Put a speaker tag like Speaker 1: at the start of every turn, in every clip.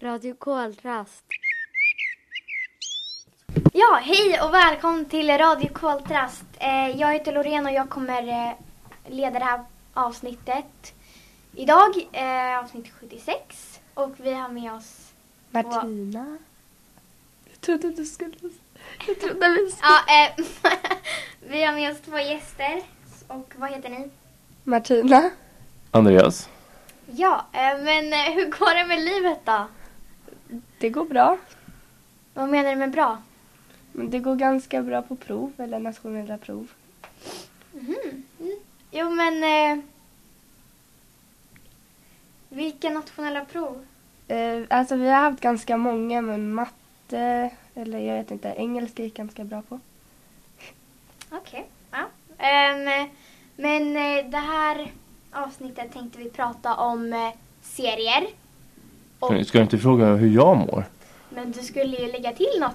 Speaker 1: Radio Koltrast.
Speaker 2: Ja, hej och välkommen till Radio Koltrast. Eh, Jag heter Loreen och jag kommer eh, leda det här avsnittet idag, eh, avsnitt 76. Och vi har med oss...
Speaker 3: Martina. Jag trodde du skulle... Jag trodde vi skulle...
Speaker 2: Ja, eh, vi har med oss två gäster. Och vad heter ni?
Speaker 3: Martina.
Speaker 4: Andreas?
Speaker 2: Ja, eh, men eh, hur går det med livet då?
Speaker 3: Det går bra.
Speaker 2: Vad menar du med bra?
Speaker 3: Men det går ganska bra på prov, eller nationella prov.
Speaker 2: Mhm. Mm. Jo, men... Eh, vilka nationella prov?
Speaker 3: Eh, alltså vi har haft ganska många, men matte, eller jag vet inte, engelska gick ganska bra på.
Speaker 2: Okej. Ja. Ehm, men eh, det här avsnittet tänkte vi prata om eh, serier. Och,
Speaker 4: Ska du inte fråga hur jag mår?
Speaker 2: men du skulle ju lägga till något.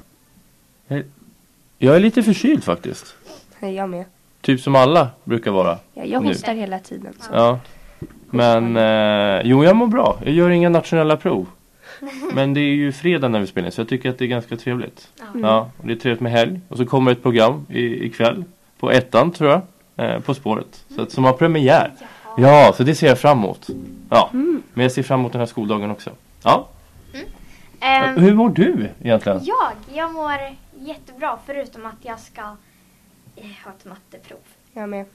Speaker 4: Jag är lite förkyld faktiskt.
Speaker 3: Nej, jag med.
Speaker 4: Typ som alla brukar vara.
Speaker 3: Ja, jag
Speaker 4: Nu.
Speaker 3: hostar hela tiden. Så.
Speaker 4: Ja. Men eh, jo, jag mår bra. Jag gör inga nationella prov. Men det är ju fredag när vi spelar in så jag tycker att det är ganska trevligt. Mm. Ja, och det är trevligt med helg. Och så kommer ett program i, ikväll. På ettan tror jag. Eh, på spåret. Så att, som har premiär. Ja, så det ser jag fram emot. Ja, men jag ser fram emot den här skoldagen också. Ja,
Speaker 2: Ehm,
Speaker 4: hur mår du egentligen?
Speaker 2: jag, jag mår jättebra förutom att jag ska eh, ha ett matteprov.
Speaker 3: Jag med.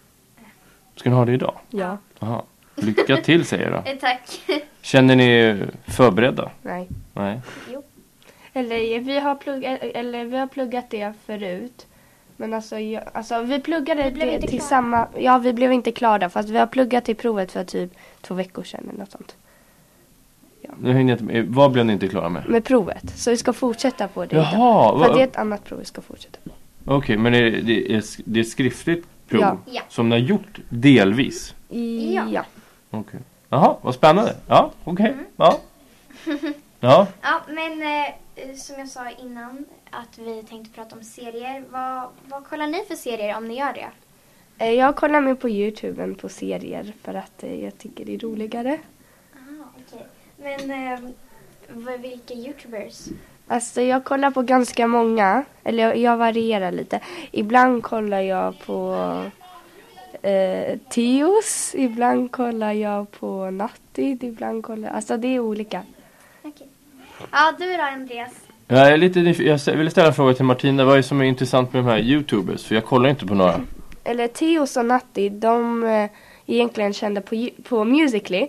Speaker 4: Ska ni ha det idag?
Speaker 3: Ja.
Speaker 4: Aha. Lycka till säger jag då.
Speaker 2: Eh, tack.
Speaker 4: Känner ni er förberedda?
Speaker 3: Nej.
Speaker 4: Nej.
Speaker 3: Eller vi har, plugg, eh, eller, vi har pluggat det förut. Men alltså, jag, alltså vi pluggade
Speaker 2: Vi blev
Speaker 3: det
Speaker 2: inte
Speaker 3: till
Speaker 2: klara.
Speaker 3: samma... Ja, vi blev inte klara fast vi har pluggat till provet för typ två veckor sedan eller något sånt.
Speaker 4: Nu hänger jag inte med. Vad blev ni inte klara med?
Speaker 3: Med provet. Så vi ska fortsätta på det. idag.
Speaker 4: Jaha!
Speaker 3: För
Speaker 4: va-
Speaker 3: det är
Speaker 4: Okej,
Speaker 3: ett annat prov vi ska fortsätta på.
Speaker 4: men det, det, är, sk- det är skriftligt prov
Speaker 3: Ja.
Speaker 2: Ja.
Speaker 4: som ni har gjort delvis?
Speaker 3: I,
Speaker 2: Ja.
Speaker 4: Okej. Jaha, vad spännande. Ja, okej. Ja. Ja,
Speaker 2: Ja, men eh, som jag sa innan att vi tänkte prata om serier. Vad, vad kollar ni för serier om ni gör det?
Speaker 3: Eh, Jag kollar mig på Youtube än på serier för att eh, jag tycker det är roligare.
Speaker 2: Ah, okej. Men eh, vad- vilka youtubers?
Speaker 3: Alltså jag kollar på ganska många. Eller jag, jag varierar lite. Ibland kollar jag på eh, Teos. Ibland kollar jag på Nattid. Ibland kollar Alltså det är olika.
Speaker 2: Okej. Ja, du då Andreas?
Speaker 4: jag är lite nyf- Jag stä- ville ställa en fråga till Martina. Vad är det som är intressant med de här youtubers? För jag kollar inte på några.
Speaker 3: Eller Teos och Nattid. De eh, är egentligen kända på, Ju- på Musically.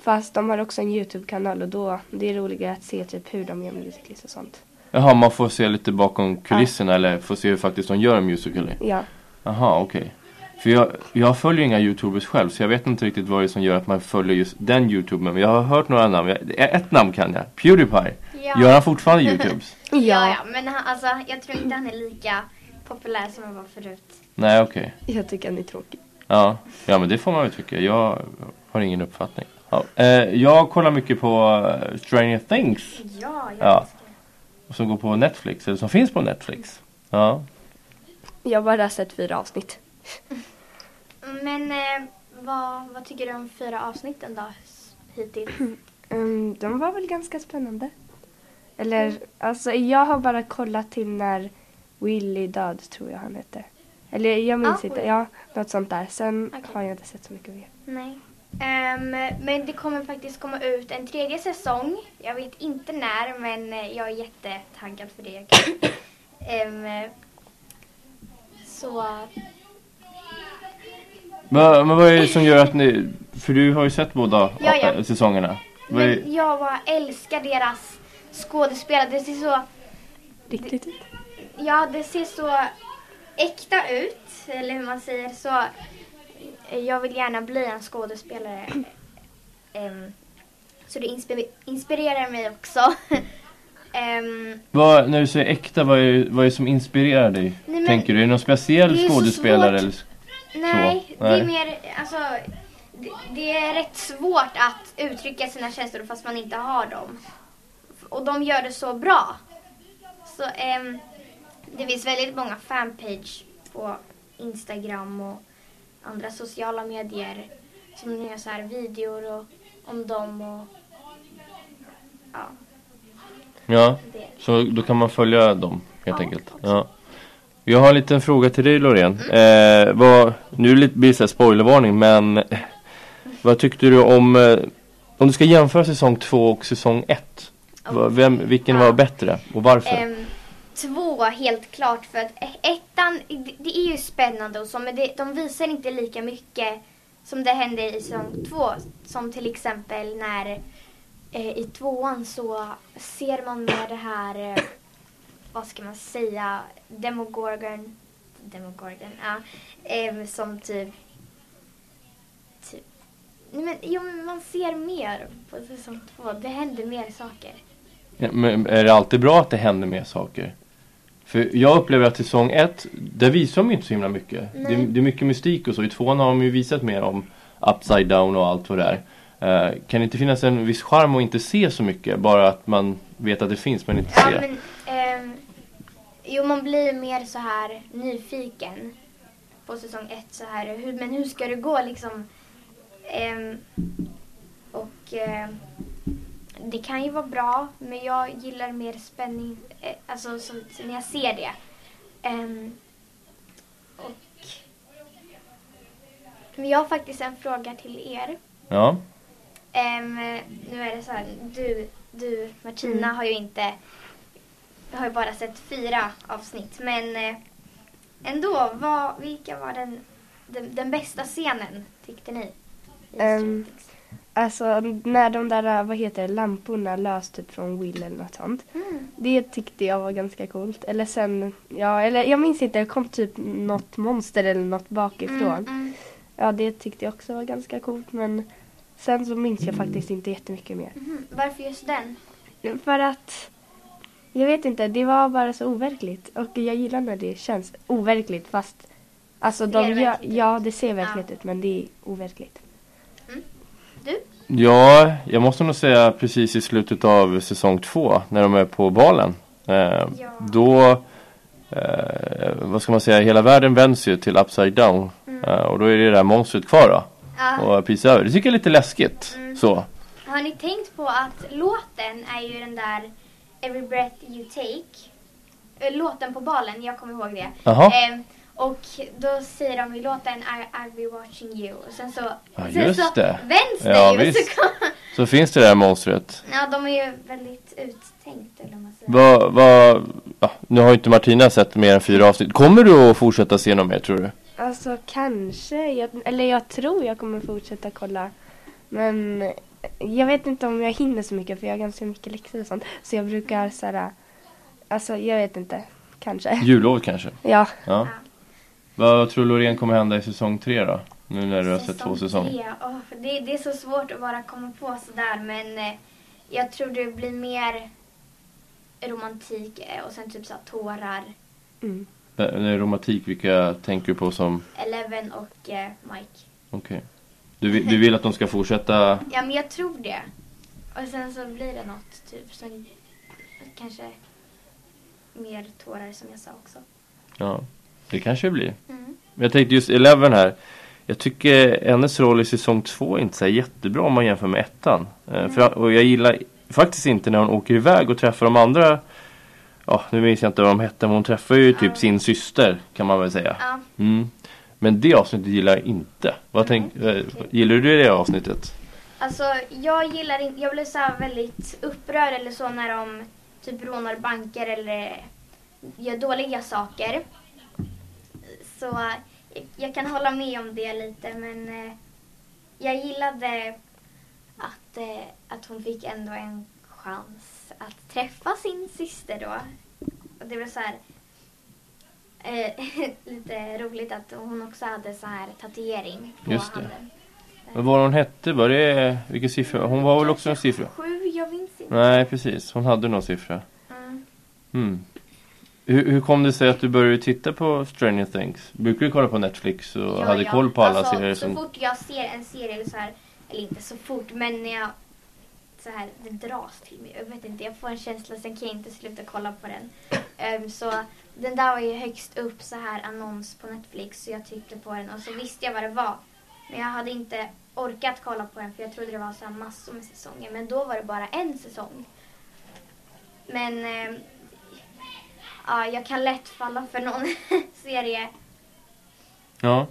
Speaker 3: Fast de har också en Youtube-kanal och då det är roligare att se typ hur de gör Musically och sånt.
Speaker 4: Jaha, man får se lite bakom kulisserna eller får se hur faktiskt de gör en musical.
Speaker 3: Ja.
Speaker 4: Jaha, okej. För jag, jag följer inga youtubers själv så jag vet inte riktigt vad det är som gör att man följer just den youtubern. Men jag har hört några namn. Jag, ett namn kan jag. Pewdiepie.
Speaker 2: Ja.
Speaker 4: Gör han fortfarande youtubes?
Speaker 3: Ja.
Speaker 2: Ja, ja, men han, alltså, jag tror inte han är lika populär som han var förut.
Speaker 4: Nej, okej.
Speaker 3: Jag tycker han är tråkig.
Speaker 4: Ja. ja, men det får man väl tycka. Jag har ingen uppfattning. Ja. Eh, jag kollar mycket på eh, Stranger Things.
Speaker 2: Ja, jag
Speaker 4: Ja.
Speaker 2: älskar det.
Speaker 4: Som går på Netflix, eller som finns på Netflix. Ja.
Speaker 3: Jag har bara sett fyra avsnitt.
Speaker 2: Men eh, vad, vad tycker du om fyra avsnitten då? s- Hittills?
Speaker 3: Mm, de var väl ganska spännande. Eller, alltså jag har bara kollat till när Willy död tror jag han hette. Eller jag minns
Speaker 2: Ah,
Speaker 3: inte,
Speaker 2: oj.
Speaker 3: ja, något sånt där. Sen
Speaker 2: Okej.
Speaker 3: har jag inte sett så mycket mer.
Speaker 2: Nej. Ehm, men det kommer faktiskt komma ut en tredje säsong. Jag vet inte när, men eh, jag är jättetaggad för det. Ehm, så...
Speaker 4: Men, men vad är det som gör att ni... För du har ju sett båda
Speaker 2: Ja, ja.
Speaker 4: eh, säsongerna. Vad är,
Speaker 2: Men jag bara älskar deras skådespelare. Det ser så...
Speaker 3: Riktigt ut.
Speaker 2: Ja, det ser så äkta ut, eller hur man säger. Så eh, jag vill gärna bli en skådespelare. Ehm, så det inspi- inspirerar mig också. Ehm,
Speaker 4: Vad, när du säger äkta, vad är, vad är det som inspirerar dig?
Speaker 2: men-
Speaker 4: tänker du? Är det någon speciell
Speaker 2: Det är så
Speaker 4: skådespelare?
Speaker 2: svårt.
Speaker 4: Eller?
Speaker 2: nej,
Speaker 4: Så,
Speaker 2: det är
Speaker 4: nej.
Speaker 2: mer, alltså, det, det är rätt svårt att uttrycka sina känslor fast man inte har dem. Och de gör det så bra. Så ehm, det finns väldigt många fanpage på Instagram och andra sociala medier som gör så här videor och, om dem och ja.
Speaker 4: Ja,
Speaker 2: Det.
Speaker 4: så då kan man följa dem helt enkelt. Ja. Jag har en liten fråga till dig Loreen.
Speaker 2: Mm.
Speaker 4: Eh, vad, nu lite- blir det så här spoilervarning men eh, vad tyckte du om, eh, om du ska jämföra säsong två och säsong ett? vad- Vem, vilken var
Speaker 2: Ja.
Speaker 4: bättre och varför?
Speaker 2: Ehm, två helt klart för att e- ettan, det- det är ju spännande och så men det, de visar inte lika mycket som det hände i säsong två. Som till exempel när eh, i tvåan så ser man med det här, eh, vad ska man säga, Demogorgon, Demogorgon, ja, ehm, som typ, typ Nej, men, jo, men man ser mer på säsong två. Det händer mer saker.
Speaker 4: Ja, Men är det alltid bra att det händer mer saker? För jag upplever att säsong ett, där visar de ju inte så himla mycket. Det,
Speaker 2: Nej.
Speaker 4: det är mycket mystik och så. I tvåan har de ju visat mer om upside down och allt vad det är. Eh, kan det inte finnas en viss charm att inte se så mycket? Bara att man vet att det finns men inte
Speaker 2: Ja,
Speaker 4: ser.
Speaker 2: men, ehm, jo, man blir mer så här nyfiken på säsong ett. Så här, hur, men hur ska det gå liksom? Ehm, och ehm, det kan ju vara bra, men jag gillar mer spänning, eh, alltså så, så när jag ser det. Ehm, och, men jag har faktiskt en fråga till er.
Speaker 4: Ja.
Speaker 2: Ehm, nu är det så här, du, du Martina har ju inte, jag har ju bara sett fyra avsnitt men eh, ändå, vad, vilka var den, den, den bästa scenen tyckte ni? i
Speaker 3: Ehm,
Speaker 2: Striptease?
Speaker 3: Alltså när de där, äh, vad heter det, lamporna lös typ från Will eller något sånt.
Speaker 2: Mm.
Speaker 3: Det tyckte jag var ganska coolt. Eller sen, ja, eller jag minns inte, det kom typ något monster eller något bakifrån.
Speaker 2: Mm, mm.
Speaker 3: Ja, det tyckte jag också var ganska coolt men sen så minns jag faktiskt inte jättemycket mer.
Speaker 2: Mhm, Varför just den?
Speaker 3: För att, jag vet inte, det var bara så overkligt och jag gillar när det känns overkligt fast Alltså
Speaker 2: Ser
Speaker 3: de gör,
Speaker 2: verkligt ut.
Speaker 3: ja det ser verkligt ut men det är overkligt.
Speaker 4: Ja, jag måste nog säga precis i slutet av säsong två när de är på balen. Eh, Då, eh, vad ska man säga, hela världen vänds ju till upside down.
Speaker 2: Mm.
Speaker 4: Eh, och då är det det där monstret kvar då.
Speaker 2: Ja.
Speaker 4: och pissa över. Det tycker jag är lite läskigt.
Speaker 2: Mm.
Speaker 4: Så.
Speaker 2: Har ni tänkt på att låten är ju den där Every breath you take, eh, låten på balen, jag kommer ihåg det.
Speaker 4: Jaha.
Speaker 2: Ehm, och då säger de i låten I, I'll be watching you. Och sen så,
Speaker 4: Ja,
Speaker 2: sen så
Speaker 4: just det.
Speaker 2: vänds det
Speaker 4: Ja,
Speaker 2: ju. och
Speaker 4: visst.
Speaker 2: Så kom,
Speaker 4: Så finns det där monstret.
Speaker 2: ja, de är ju väldigt uttänkt eller vad man säger.
Speaker 4: Vad, vad, ja, nu har ju inte Martina sett mer än fyra avsnitt. Kommer du att fortsätta se något mer tror du?
Speaker 3: Alltså kanske, jag, eller jag tror jag kommer fortsätta kolla. Men jag vet inte om jag hinner så mycket för jag har ganska mycket läxor och sånt. Så jag brukar såhär, alltså jag vet inte, kanske.
Speaker 4: Jullovet kanske?
Speaker 3: Ja,
Speaker 4: Ja. Vad tror du Loreen kommer hända i säsong tre då? Nu när du har sett två säsonger.
Speaker 2: tre. Åh, det, det är så svårt att bara komma på sådär men eh, jag tror det blir mer romantik eh, och sen typ så här tårar.
Speaker 3: mm.
Speaker 4: Det- det är Romantik, vilka tänker du på som...
Speaker 2: Eleven och eh, Mike.
Speaker 4: Okej. Du, vi- du vill att de ska fortsätta?
Speaker 2: Ja men jag tror det. Och sen så blir det något typ som kanske mer tårar som jag sa också.
Speaker 4: Ja. Det kanske det blir.
Speaker 2: Mm.
Speaker 4: Men jag tänkte just Eleven här. Jag tycker hennes roll i säsong två är inte så här jättebra om man jämför med ettan. Eh, För, och jag gillar faktiskt inte när hon åker iväg och träffar de andra. Ja, nu minns jag inte vad de hette men hon träffar ju typ sin syster kan man väl säga.
Speaker 2: Ja.
Speaker 4: Mm. Men det avsnittet gillar jag inte. Vad tänk, eh, gillar du det avsnittet?
Speaker 2: Alltså jag gillar inte, jag blev så här väldigt upprörd eller så när de typ rånar banker eller gör dåliga saker. Så eh, jag kan hålla med om det lite men eh, jag gillade att, eh, att hon fick ändå en chans att träffa sin syster då. Och det var så här eh, lite roligt att hon också hade så här tatuering på
Speaker 4: Just det.
Speaker 2: handen.
Speaker 4: Vad var hon hette? Var det, vilken siffra? Hon var väl också en siffra?
Speaker 2: Sju, jag minns inte.
Speaker 4: Nej, precis. Hon hade någon siffra.
Speaker 2: Mm.
Speaker 4: Mm. Hur, hur kom det sig att du började titta på Stranger Things? Brukar du kolla på Netflix och
Speaker 2: Ja,
Speaker 4: hade
Speaker 2: ja.
Speaker 4: koll på alla
Speaker 2: alltså,
Speaker 4: serier
Speaker 2: Så
Speaker 4: som...
Speaker 2: fort jag ser en serie eller så här, eller inte så fort, men när jag så här, det dras till mig. Jag vet inte, jag får en känsla, sen kan jag inte sluta kolla på den. Ehm, så den där var ju högst upp så här annons på Netflix så jag tryckte på den och så visste jag vad det var. Men jag hade inte orkat kolla på den för jag trodde det var så här massor med säsonger. Men då var det bara en säsong. Men eh, ja, jag kan lätt falla för någon serie.
Speaker 4: Ja.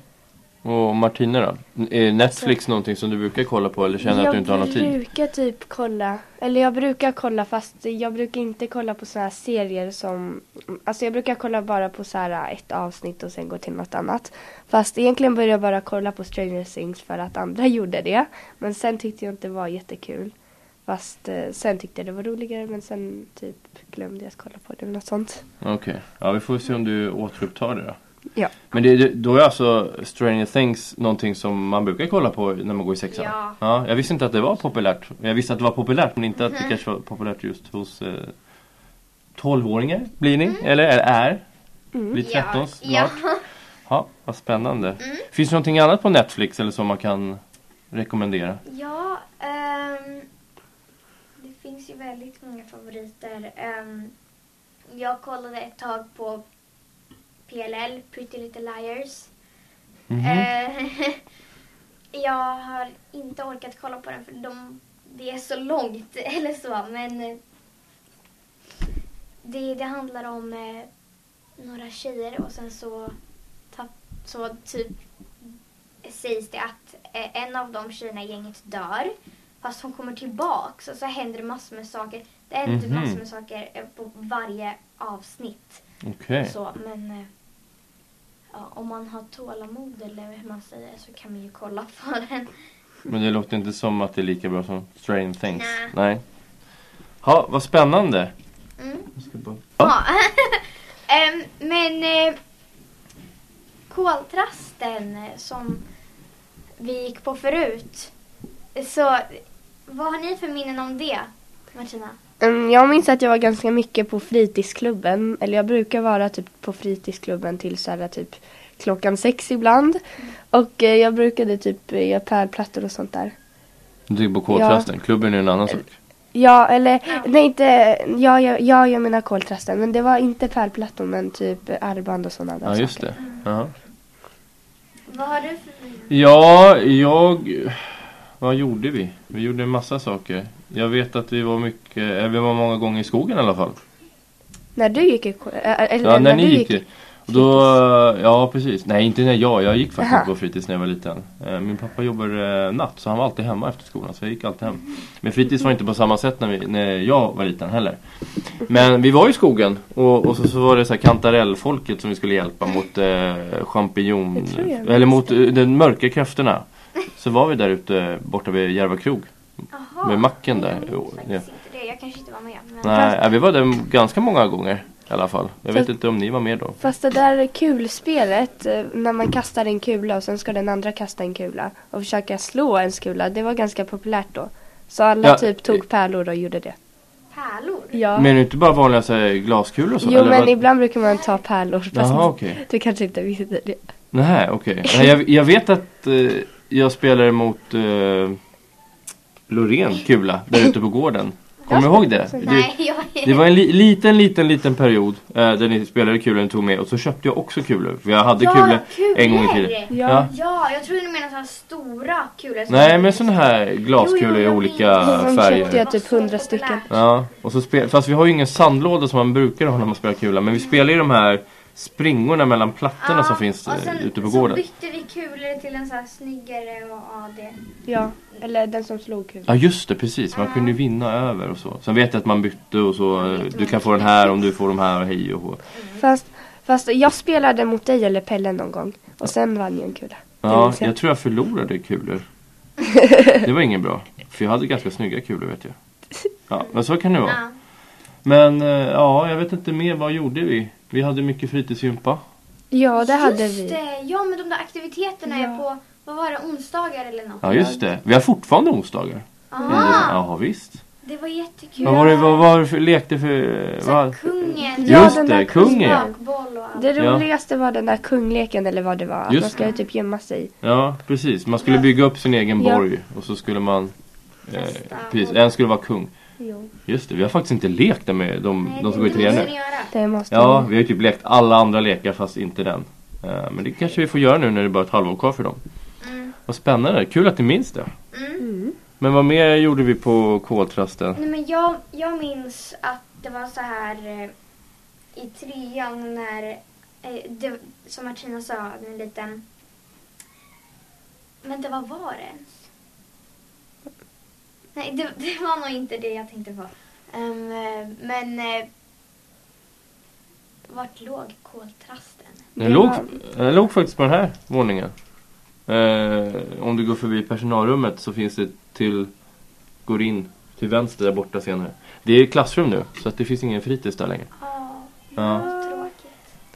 Speaker 4: Och Martina då? Är Netflix någonting som du brukar kolla på eller känner att du inte har någon
Speaker 3: Jag
Speaker 4: tid?
Speaker 3: brukar typ kolla, eller jag brukar kolla fast jag brukar inte kolla på såna här serier som, alltså jag brukar kolla bara på så här ett avsnitt och sen gå till något annat. Fast egentligen började jag bara kolla på Stranger Things för att andra gjorde det. Men sen tyckte jag inte det var jättekul. Fast eh, sen tyckte jag det var roligare men sen typ glömde jag att kolla på det eller något sånt.
Speaker 4: Okej. Ja, vi får se om du återupptar det då.
Speaker 3: Ja.
Speaker 4: Men det, det, då är alltså Stranger Things någonting som man brukar kolla på när man går i sexan?
Speaker 2: Ja.
Speaker 4: Jag visste inte att det var populärt. Jag visste att det var populärt men inte att
Speaker 2: Mhm.
Speaker 4: det kanske var populärt just hos eh, 12-åringar. Blir ni? Eller är? är.
Speaker 3: Mm.
Speaker 4: Blir 13
Speaker 2: ja,
Speaker 4: snart?
Speaker 2: ja. Mm.
Speaker 4: Ja, vad spännande. Finns det någonting annat på Netflix eller som man kan
Speaker 2: Eh,
Speaker 4: rekommendera?
Speaker 2: ja ehm, det finns ju väldigt många favoriter. Ehm, jag kollade ett tag på PLL, Pretty Little Liars.
Speaker 4: Mhm.
Speaker 2: Eh, jag har inte orkat kolla på den för de, det är så långt eller så men eh, det, det handlar om eh, några tjejer och sen så, tapp, så typ sägs det att eh, en av de tjejerna i gänget dör fast hon kommer tillbaks och så händer det massor med saker. Det händer
Speaker 4: Mhm.
Speaker 2: massor med saker eh, på varje avsnitt.
Speaker 4: Okej.
Speaker 2: Så, men eh, ja, om man har tålamod eller hur man säger så kan man ju kolla på den.
Speaker 4: Men det låter inte som att det är lika bra som Stranger Things.
Speaker 2: Nej.
Speaker 4: Nej. Ja, vad spännande.
Speaker 2: Mm.
Speaker 4: Jag ska bara...
Speaker 2: Ja. Em, men eh, koltrasten eh, som vi gick på förut. Så vad har ni för minnen om det, Martina?
Speaker 3: Mm, Jag minns att jag var ganska mycket på fritidsklubben. Eller jag brukar vara typ på fritidsklubben till så här typ klockan sex ibland. Och eh, jag brukade typ eh, göra pärlplattor och sånt där.
Speaker 4: Du tänker på koltrasten. Klubben är en annan sak.
Speaker 3: Ja, eller
Speaker 2: Ja.
Speaker 3: nej inte, ja, jag, ja, jag menar koltrasten. Men det var inte pärlplattor men typ eh, armband och sådana där
Speaker 4: Ja, just
Speaker 3: saker.
Speaker 4: det. Ja.
Speaker 2: Vad har du för minnen?
Speaker 4: Ja, jag... Vad gjorde vi? Vi gjorde en massa saker. Jag vet att vi var mycket... eh, Vi var många gånger i skogen i alla fall.
Speaker 3: När du gick i ko- eh, eller
Speaker 4: Ja, när ni
Speaker 3: du
Speaker 4: gick det. Och då, ja precis. Nej, inte när jag. Jag gick faktiskt
Speaker 3: Aha.
Speaker 4: inte på fritids när jag var liten. Eh, Min pappa jobbade eh, natt så han var alltid hemma efter skolan. Så jag gick alltid hem. Men fritids var inte på samma sätt när, vi, när jag var liten heller. Men vi var i skogen och, och så, så var det så här kantarellfolket som vi skulle hjälpa mot eh, champinjon...
Speaker 3: Det tror jag
Speaker 4: Eller mot eh, de mörka krafterna. Så var vi där ute borta vid Järva krog.
Speaker 2: Jaha,
Speaker 4: Med macken där.
Speaker 2: Jag
Speaker 4: Jo,
Speaker 2: minns faktiskt inte det. Jag kanske inte var med. Men...
Speaker 4: Nej, eh, vi var där ganska många gånger i alla fall. Jag vet
Speaker 3: Så-
Speaker 4: inte om ni var med då.
Speaker 3: Fast det där kulspelet, eh, när man kastar en kula och sen ska den andra kasta en kula och försöka slå en kula, det var ganska populärt då. Så alla
Speaker 4: Ja,
Speaker 3: typ
Speaker 4: eh,
Speaker 3: tog pärlor och gjorde det.
Speaker 2: Pärlor?
Speaker 3: Ja.
Speaker 4: Men inte bara vanliga så här, glaskulor och så?
Speaker 3: jo
Speaker 4: eller
Speaker 3: men
Speaker 4: vad-
Speaker 3: ibland brukar man ta pärlor. fast
Speaker 4: Jaha, okej.
Speaker 3: Du kanske inte visste det.
Speaker 4: Nej, okej. Nej, Jag, jag vet att eh, jag spelade mot eh, Loreen kula där ute på gården. Kommer du ihåg det? det?
Speaker 2: Nej, jag...
Speaker 4: Det var en li, liten, liten, liten period eh, där ni spelade kulor och tog med och så köpte jag också kulor. För jag hade
Speaker 2: Ja,
Speaker 4: kulor en gång i
Speaker 2: kulor!
Speaker 4: tiden.
Speaker 3: Ja.
Speaker 2: Ja, jag trodde du menade sådana stora kulor. som-
Speaker 4: Nej, men sådana här
Speaker 2: Jo,
Speaker 4: glaskulor
Speaker 2: jo,
Speaker 4: i
Speaker 2: jag
Speaker 4: olika
Speaker 2: minns.
Speaker 3: Som köpte
Speaker 4: färger.
Speaker 3: jag typ 100 stycken.
Speaker 4: Ja, och så spel, fast vi har ju ingen sandlåda som man brukar ha när man spelar kula. Men vi spelar ju de här springorna mellan plattorna som finns
Speaker 2: och
Speaker 4: eh,
Speaker 2: sen,
Speaker 4: ute på
Speaker 2: så
Speaker 4: gården.
Speaker 2: bytte vi kulor till en sån här snyggare och ja, det.
Speaker 3: Ja, eller den som slog kulan.
Speaker 4: Ja just det, precis. Man kunde ju vinna över och så. Sen vet jag att man bytte och så. eh,
Speaker 2: vet
Speaker 4: Du
Speaker 2: man.
Speaker 4: kan få den här om du får de här och hej och hå.
Speaker 3: Fast, fast jag spelade mot dig eller Pelle någon gång och sen vann jag en kula. Det
Speaker 4: Ja,
Speaker 3: minns jag.
Speaker 4: jag tror jag förlorade kulor. Det var inget bra. För jag hade ganska snygga kulor vet jag. Ja, men så kan det vara.
Speaker 2: Ja.
Speaker 4: Men eh, ja, jag vet inte mer. Vad gjorde vi? Vi hade mycket fritidsgympa.
Speaker 3: Ja, det hade
Speaker 2: Just
Speaker 3: vi.
Speaker 2: det, ja men de där aktiviteterna är
Speaker 3: Ja.
Speaker 2: på, vad var det, onsdagar eller något?
Speaker 4: Ja, just det. Vi har fortfarande onsdagar.
Speaker 2: Ah,
Speaker 4: Ja, visst.
Speaker 2: det var jättekul.
Speaker 4: Vad var det, vad var det för, lekte för...
Speaker 2: Så här,
Speaker 4: Vad?
Speaker 2: kungen,
Speaker 3: Ja,
Speaker 4: Just
Speaker 3: den
Speaker 4: det,
Speaker 3: där
Speaker 4: kungen.
Speaker 2: bakboll och allt.
Speaker 3: Det
Speaker 4: Ja.
Speaker 3: roligaste var den där kungleken eller vad det var. Att
Speaker 4: Just
Speaker 3: man ska ju
Speaker 4: det.
Speaker 3: typ gömma sig.
Speaker 4: Ja, precis. Man skulle bygga upp sin egen
Speaker 3: Ja.
Speaker 4: borg och så skulle man... Eh,
Speaker 2: Testa.
Speaker 4: precis, en skulle vara kung.
Speaker 3: Jo.
Speaker 4: Just det, vi har faktiskt inte lekt där med de, de som går i trean
Speaker 2: måste
Speaker 4: nu.
Speaker 2: ni göra.
Speaker 3: Det måste
Speaker 4: Ja,
Speaker 3: man.
Speaker 4: vi har ju typ lekt alla andra lekar fast inte den. Eh, Men det kanske vi får göra nu när det är bara ett halvår kvar för dem.
Speaker 2: Mm.
Speaker 4: Vad spännande, kul att ni minns det.
Speaker 2: Mm.
Speaker 3: Mm.
Speaker 4: Men vad mer gjorde vi på koltrasten?
Speaker 2: Nej, men jag, jag minns att Det var så här eh, i trean när, eh, det, som Martina sa, en liten... Men det var var det ens? Nej, det, det var nog inte det jag tänkte på. Ehm, eh, men... eh, Vart låg koltrasten?
Speaker 3: Det
Speaker 4: Den låg,
Speaker 3: var-
Speaker 4: den låg faktiskt på den här våningen. Eh, om du går förbi personalrummet så finns det till, går in till vänster där borta senare. Det är klassrum nu så att det finns ingen fritids där längre.
Speaker 2: Ja,
Speaker 4: Ja,
Speaker 2: vad tråkigt.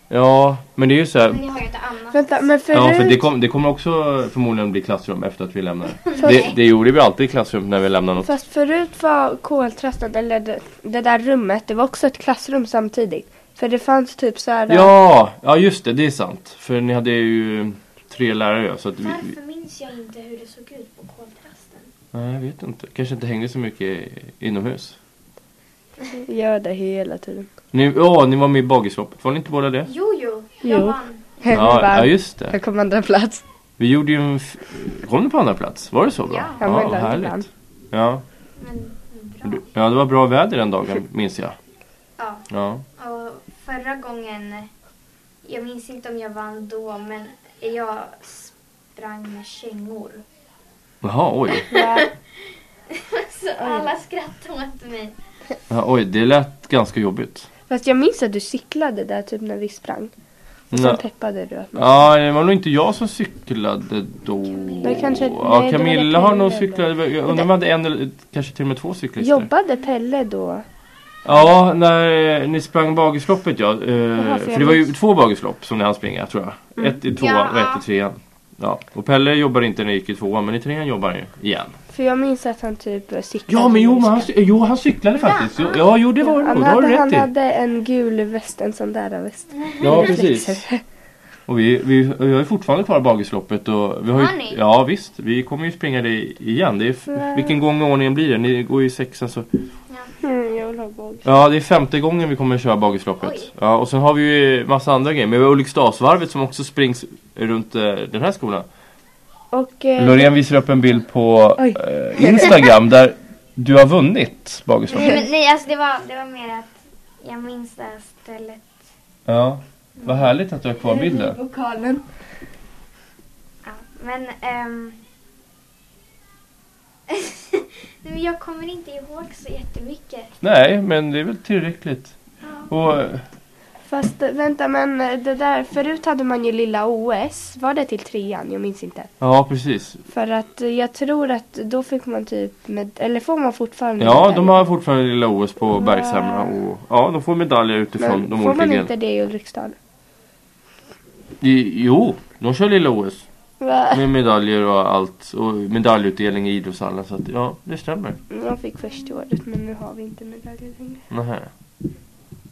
Speaker 4: ja men det är ju så
Speaker 2: Men
Speaker 4: här.
Speaker 2: ni har ju inte annat.
Speaker 3: Vänta, men förut...
Speaker 4: Ja, för det, kom, det kommer också förmodligen bli klassrum efter att vi lämnar.
Speaker 3: Fast-
Speaker 4: Det, det gjorde vi alltid i klassrum när vi lämnade något.
Speaker 3: Fast förut var koltrasten, eller det, det där rummet, det var också ett klassrum samtidigt. För det fanns typ så här...
Speaker 4: Ja, ja just det, det är sant. För ni hade ju tre lärare ja, så att vi, vi,
Speaker 2: Varför minns jag inte hur det såg ut på koltrasten?
Speaker 4: Nej, jag vet inte. Kanske inte hängde så mycket inomhus.
Speaker 3: Gör det hela tiden.
Speaker 4: Ni, ja, ni var med i bagishoppet. Var ni inte båda det?
Speaker 2: Jo, jo. Jag
Speaker 3: Jo.
Speaker 2: vann.
Speaker 4: Ja,
Speaker 3: Bara,
Speaker 4: ja just det.
Speaker 3: Jag kom andra plats.
Speaker 4: Vi gjorde ju en... F- kom du på andra plats? Var det så bra?
Speaker 2: Ja.
Speaker 3: Ja, men det var ibland.
Speaker 4: härligt. Ja.
Speaker 2: Men men bra.
Speaker 4: Du- ja, det var bra väder den dagen minns jag.
Speaker 2: Ja,
Speaker 4: Ja.
Speaker 2: och förra gången, jag minns inte om jag vann då, men jag sprang med kängor.
Speaker 4: Jaha, oj.
Speaker 2: Så alla skrattade åt mig.
Speaker 4: Ja, oj, det lät ganska jobbigt.
Speaker 3: Fast jag minns att du cyklade där typ när vi sprang. Och sen
Speaker 4: Ja.
Speaker 3: peppade du åt mig.
Speaker 4: Ja, det var nog inte jag som cyklade då.
Speaker 3: Nej, kanske-
Speaker 4: ja,
Speaker 3: nej, det var
Speaker 4: Camilla har nog
Speaker 3: Camilla.
Speaker 4: cyklat. Jag undrar om vi hade en eller kanske till och med två cyklister.
Speaker 3: Jobbade Pelle då?
Speaker 4: Ja, när ni sprang bagisloppet ja. Eh,
Speaker 3: Jaha, för
Speaker 4: för
Speaker 3: jag
Speaker 4: det var ju
Speaker 3: minns- Mm.
Speaker 4: två bagislopp som ni hann springa tror jag. Ett i tvåan och ett
Speaker 2: Ja.
Speaker 4: i trean. Ja. Och Pelle jobbade inte när han gick i tvåan men i trean jobbar han ju igen.
Speaker 3: För jag minns att han typ eh, cyklade.
Speaker 4: Ja men jo,
Speaker 3: när vi
Speaker 4: men han,
Speaker 3: sprang.
Speaker 4: cy- jo han cyklade faktiskt. Jo, ja jo det var det
Speaker 3: han
Speaker 4: nog. Det har du
Speaker 3: hade,
Speaker 4: rätt
Speaker 3: han
Speaker 4: i.
Speaker 3: hade en gul väst, en sån där väst.
Speaker 4: Ja
Speaker 3: Med
Speaker 4: precis.
Speaker 3: reflexer.
Speaker 4: Och vi, vi, vi har ju fortfarande kvar bagisloppet. Och vi har ju,
Speaker 2: Har ni?
Speaker 4: Ja visst. Vi kommer ju springa det igen. Det är f-
Speaker 3: Nej.
Speaker 4: vilken gång i ordningen blir det? Ni går ju i sexan så.
Speaker 3: Mm, jag vill ha båg.
Speaker 4: Ja, det är femte gången vi kommer köra bagisloppet.
Speaker 2: Oj.
Speaker 4: Ja, och sen har vi ju massa andra grejer. Men vi har Ulriksdalsvarvet som också springs runt eh, den här skolan.
Speaker 3: Och eh,
Speaker 4: Loreen visar upp en bild på
Speaker 3: Oj.
Speaker 4: eh, Instagram där du har vunnit
Speaker 2: Nej,
Speaker 4: bagisloppet.
Speaker 2: men, nej alltså det var, det var mer att jag minns det här stället.
Speaker 4: Ja, vad härligt att du har kvar
Speaker 3: Mm.
Speaker 4: bilden.
Speaker 3: vokalen.
Speaker 2: Ja, men... ehm, Nej, men jag kommer inte ihåg så jättemycket.
Speaker 4: Nej, men det är väl tillräckligt. Och, eh,
Speaker 3: Fast eh, vänta, men eh, det där, förut hade man ju lilla OS. Var det till trean? Jag minns inte.
Speaker 4: ja, precis.
Speaker 3: För att eh, jag tror att då fick man typ, med, eller får man fortfarande
Speaker 4: Ja,
Speaker 3: medalj?
Speaker 4: de har fortfarande lilla OS på Bergshamra. Och, ja, de får medaljer utifrån
Speaker 3: Men
Speaker 4: de
Speaker 3: får
Speaker 4: olika
Speaker 3: man
Speaker 4: grejerna.
Speaker 3: inte det i Ulriksdal?
Speaker 4: I- Jo, de kör lilla OS.
Speaker 3: Va?
Speaker 4: Med medaljer och allt. Och medaljutdelning i idrottshallen. Så att, ja, det stämmer.
Speaker 3: Jag fick första året men nu har vi inte medaljer längre.
Speaker 4: Nähä.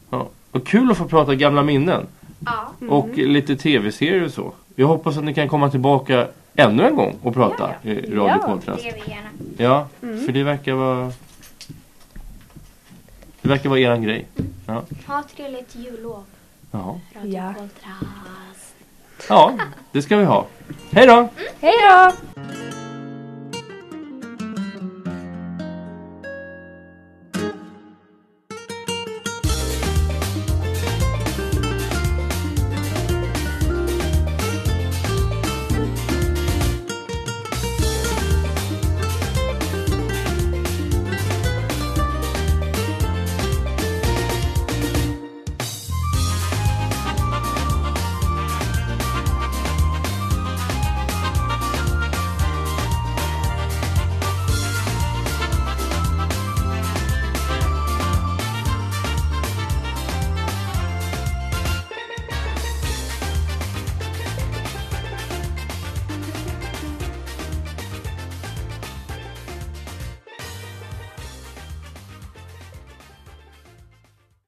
Speaker 4: Ja. Och kul att få prata gamla minnen.
Speaker 2: Ja.
Speaker 3: Mm.
Speaker 4: Och lite tv-serier och så. Jag hoppas att ni kan komma tillbaka ännu en gång och prata i Radio
Speaker 3: Ja, Mm.
Speaker 4: Koltrast.
Speaker 2: Det vill gärna.
Speaker 4: Ja, för det verkar vara... Det verkar vara eran grej. Ja.
Speaker 2: Ha ett trevligt jullov.
Speaker 4: Jaha.
Speaker 2: Radio
Speaker 3: Ja.
Speaker 2: Koltrast.
Speaker 4: ja, det ska vi ha. Hej då!
Speaker 3: Hej då!